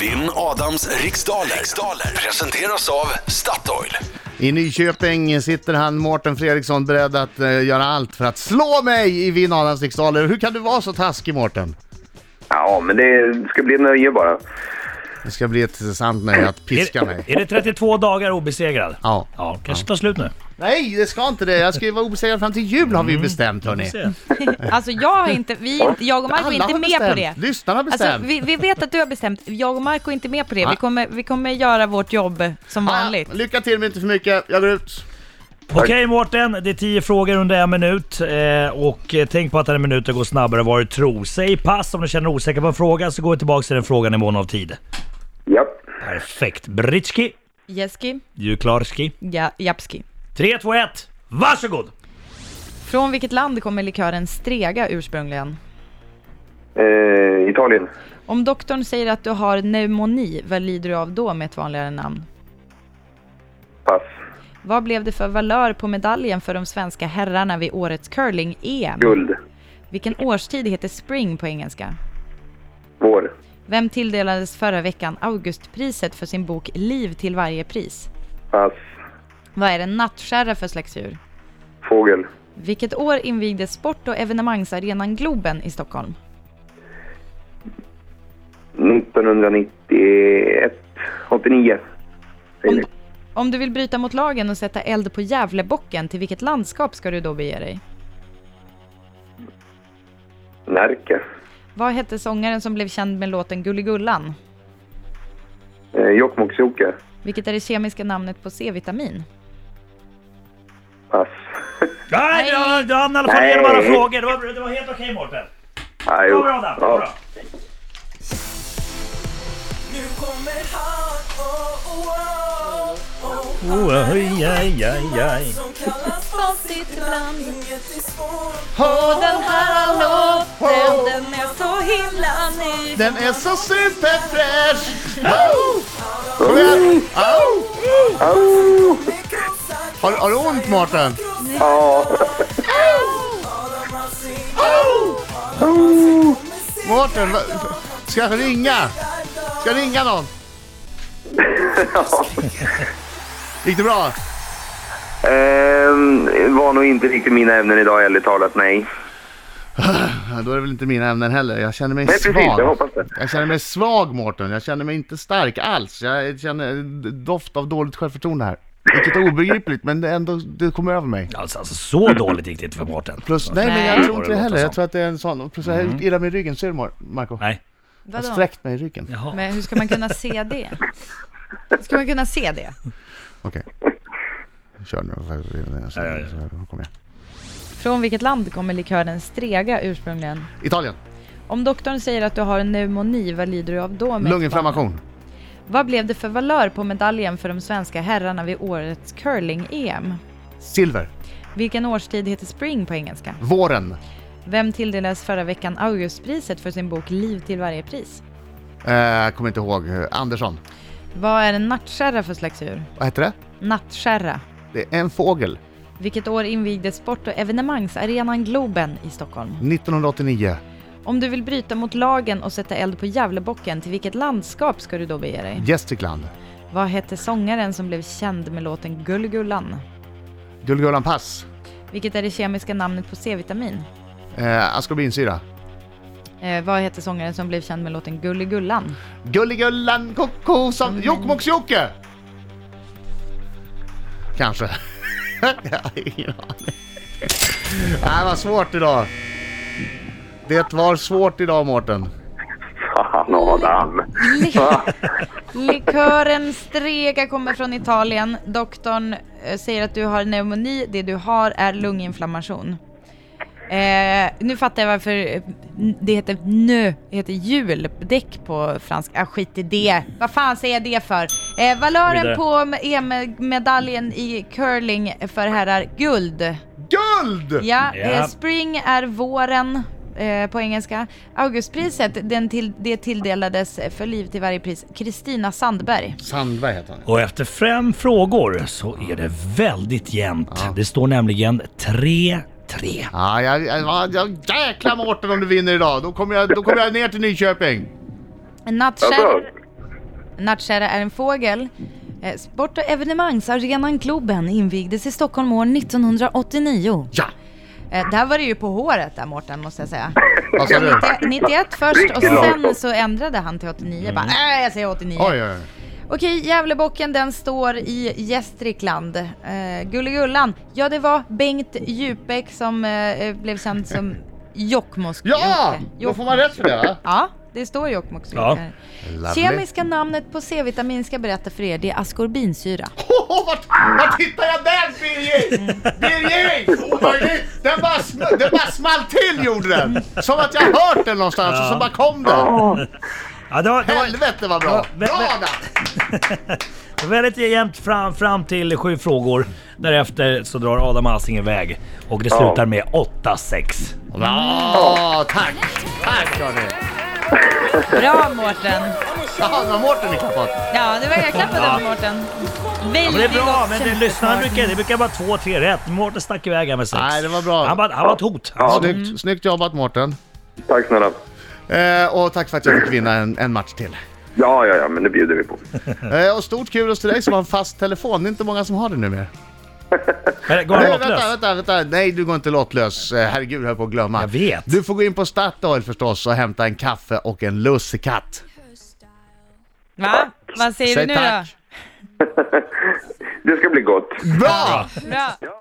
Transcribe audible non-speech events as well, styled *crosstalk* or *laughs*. Vinn Adams riksdaler. riksdaler presenteras av Statoil. I Nyköping sitter han, Mårten Fredriksson, beredd att eh, göra allt för att slå mig i Vinn Adams riksdaler. Hur kan du vara så taskig Mårten? Ja, men det ska bli nöje bara. Det ska bli ett sant nöje att piska mig. Är det 32 dagar obesegrad? Ja. Ja, kanske tar slut nu. Nej, det ska inte det. Jag ska ju vara obesegrad fram till jul har vi ju Mm. bestämt hörni. Se. Alltså jag har inte, vi, är inte- jag och Marco är inte med på det. Lyssnarna har bestämt. Alltså, vi, vi vet att du har bestämt, jag och Marco är inte med på det. Vi kommer, vi kommer göra vårt jobb som vanligt. Ah, lycka till men inte för mycket. Jag går ut. Okej Mårten, det är 10 frågor under en minut. Eh, och eh, tänk på att den minuten går snabbare än vad du tror. Säg pass om du känner dig osäker på en fråga, så går vi tillbaka till den frågan i mån av tid. Japp. Perfekt. Britski, Jeski, du är klarski. ja, Japski. 3, 2, 1, varsågod! Från vilket land kommer likören Strega ursprungligen? Eh, Italien. Om doktorn säger att du har pneumoni, vad lider du av då med ett vanligare namn? Pass. Vad blev det för valör på medaljen för de svenska herrarna vid årets curling-EM? Guld. Vilken årstid heter spring på engelska? Vår. Vem tilldelades förra veckan Augustpriset för sin bok Liv till varje pris? Pass. Vad är en nattkärra för slags djur? Fågel. Vilket år invigdes sport och evenemangsarenan Globen i Stockholm? 1991. 89. Säger vi. Om du vill bryta mot lagen och sätta eld på Gävlebocken, till vilket landskap ska du då bege dig? Närke. Vad hette sångaren som blev känd med låten Gulligullan? Eh, Jokkmokks-Jokke. Vilket är det kemiska namnet på C-vitamin? Pass. *laughs* Nej, du har- du hann i alla fall Nej. igenom alla frågor. Det var, det var helt okej Mårten. Ah, Det jo. var bra där. Det var Ja. bra. Nu kommer han, oh, oh, oh, oh. Han Oh, är oj, aj, aj, aj. som kallas för sitt namn. Inget är svårt. Den här låten, den är så himla ny! Den är så superfräsch! Au! Kom igen! Au! Har, har du ont Mårten? Ja. Mårten, va- ska jag ringa? Ska jag ringa någon? Gick det bra? Ehm, var nog inte riktigt mina ämnen idag, ärligt talat. Nej. Ja, Då är det väl inte mina ämnen heller. Jag känner mig Nej, precis. svag. Jag hoppas det. Jag känner mig svag Mårten. Jag känner mig inte stark alls. Jag känner doft av dåligt självförtroende här. Vilket är obegripligt men det, är ändå, det kommer över mig. Alltså, alltså så dåligt gick det inte för Mårten. Plus, nej men jag Nej. tror inte det heller. Jag tror att det är en sån. Plus jag har gjort illa mig i ryggen. Ser du Mar- Marco? Mm. Nej. Jag har Vadå? sträckt mig i ryggen. Jaha. Men hur ska man kunna se det? Hur ska man kunna se det? Okej. Kör nu. Ja, ja, ja. Kom igen. Från vilket land kommer likören Strega ursprungligen? Italien. Om doktorn säger att du har en pneumoni, vad lider du av då? med Lunginflammation. Vad blev det för valör på medaljen för de svenska herrarna vid årets curling-EM? Silver. Vilken årstid heter spring på engelska? Våren. Vem tilldelades förra veckan Augustpriset för sin bok Liv till varje pris? Eh, kommer inte ihåg. Andersson. Vad är en nattkärra för slags djur? Vad heter det? Nattkärra. Det är en fågel. Vilket år invigdes sport och evenemangsarenan Globen i Stockholm? 1989. Om du vill bryta mot lagen och sätta eld på Gävlebocken, till vilket landskap ska du då bege dig? Gästrikland. Vad hette sångaren som blev känd med låten Gullgullan? Gullgullan Pass. Vilket är det kemiska namnet på C-vitamin? Eh, Askorbinsyra. Eh, vad hette sångaren som blev känd med låten Gulligullan? Gulligullan koko som Jokkmokks-Jokke! Kanske. *laughs* Jag har ingen aning. Nej, vad svårt idag. Det var svårt idag, Mårten. Fan, Adam. Likören Strega kommer från Italien. Doktorn eh, säger att du har pneumoni. Det du har är lunginflammation. Eh, nu fattar jag varför eh, det heter nö, det heter juldäck på franska. Ah, skit i det. Vad fan säger jag det för? Eh, valören Vidare. på EM-medaljen i curling för herrar, guld. Guld! Ja, Ja. eh, spring är våren eh, på engelska. Augustpriset, den till, det tilldelades för liv till varje pris Kristina Sandberg. Sandberg heter han. Och efter fem frågor så är det väldigt jämnt. Det står nämligen 3-3. Ja, jag, jag, jag, jag, jäkla Mårten om du vinner idag. Då kommer jag, då kommer jag ner till Nyköping. En nattkärra, Alltså. Nattkärra är en fågel. Eh, Sport och evenemangsarenan Globen invigdes i Stockholm år 1989. Ja! Eh, Där var det ju på håret där Mårten måste jag säga. Vad sa du? 91 först och Riktigt långt. sen så ändrade han till 89. Bara, nej jag säger 89. Oj, oj, oj. Okej, Gävlebocken den står i Gästrikland. Eh, Gulligullan, ja det var Bengt Djupek som eh, blev *laughs* känd som Jokkmokks Ja! Jokke. Då får man rätt för det va? Ja, det står Jokkmokks Ja. Jokke. Lovely. Kemiska namnet på C-vitamin ska jag berätta för er, det är askorbinsyra. Åh, vart, vart hittar jag den Birgit? Birgit! Omöjligt! Den bara, sm- den bara small till gjorde den! Som att jag hört den någonstans och så bara kom den! Ja, det, var, det, var, Helvete vad bra! men- Bra men- där! det var väldigt jämnt fram, fram till sju frågor. Därefter så drar Adam Alsing iväg och det slutar med 8-6. Bra! Tack! Tack Johnny! Bra Mårten! Jaha, det var Mårten ni klappade Ja, det var jag klappade på Mårten. Ja, men det Väldigt är bra, gott men det kämpat. lyssnar mycket. Det brukar vara två, tre rätt. Mårten stack iväg här med sex. Nej, det var bra. Han var, han var ett hot. Han var- Snyggt, snyggt jobbat Mårten! Tack snälla. Eh, och tack för att jag fick vinna en, en match till. Ja, ja, ja, men det bjuder vi på. Eh, och stort kudos till dig som har en fast telefon. Det är inte många som har det numera. Men Går han Nej, vänta, lottlös? vänta, vänta. Nej, du går inte lottlös. Eh, Herregud, jag höll på att glömma. Jag vet. Du får gå in på Statoil förstås och hämta en kaffe och en lussekatt. Va? Vad säger Säg du nu tack. då? Det ska bli gott. Bra! Bra.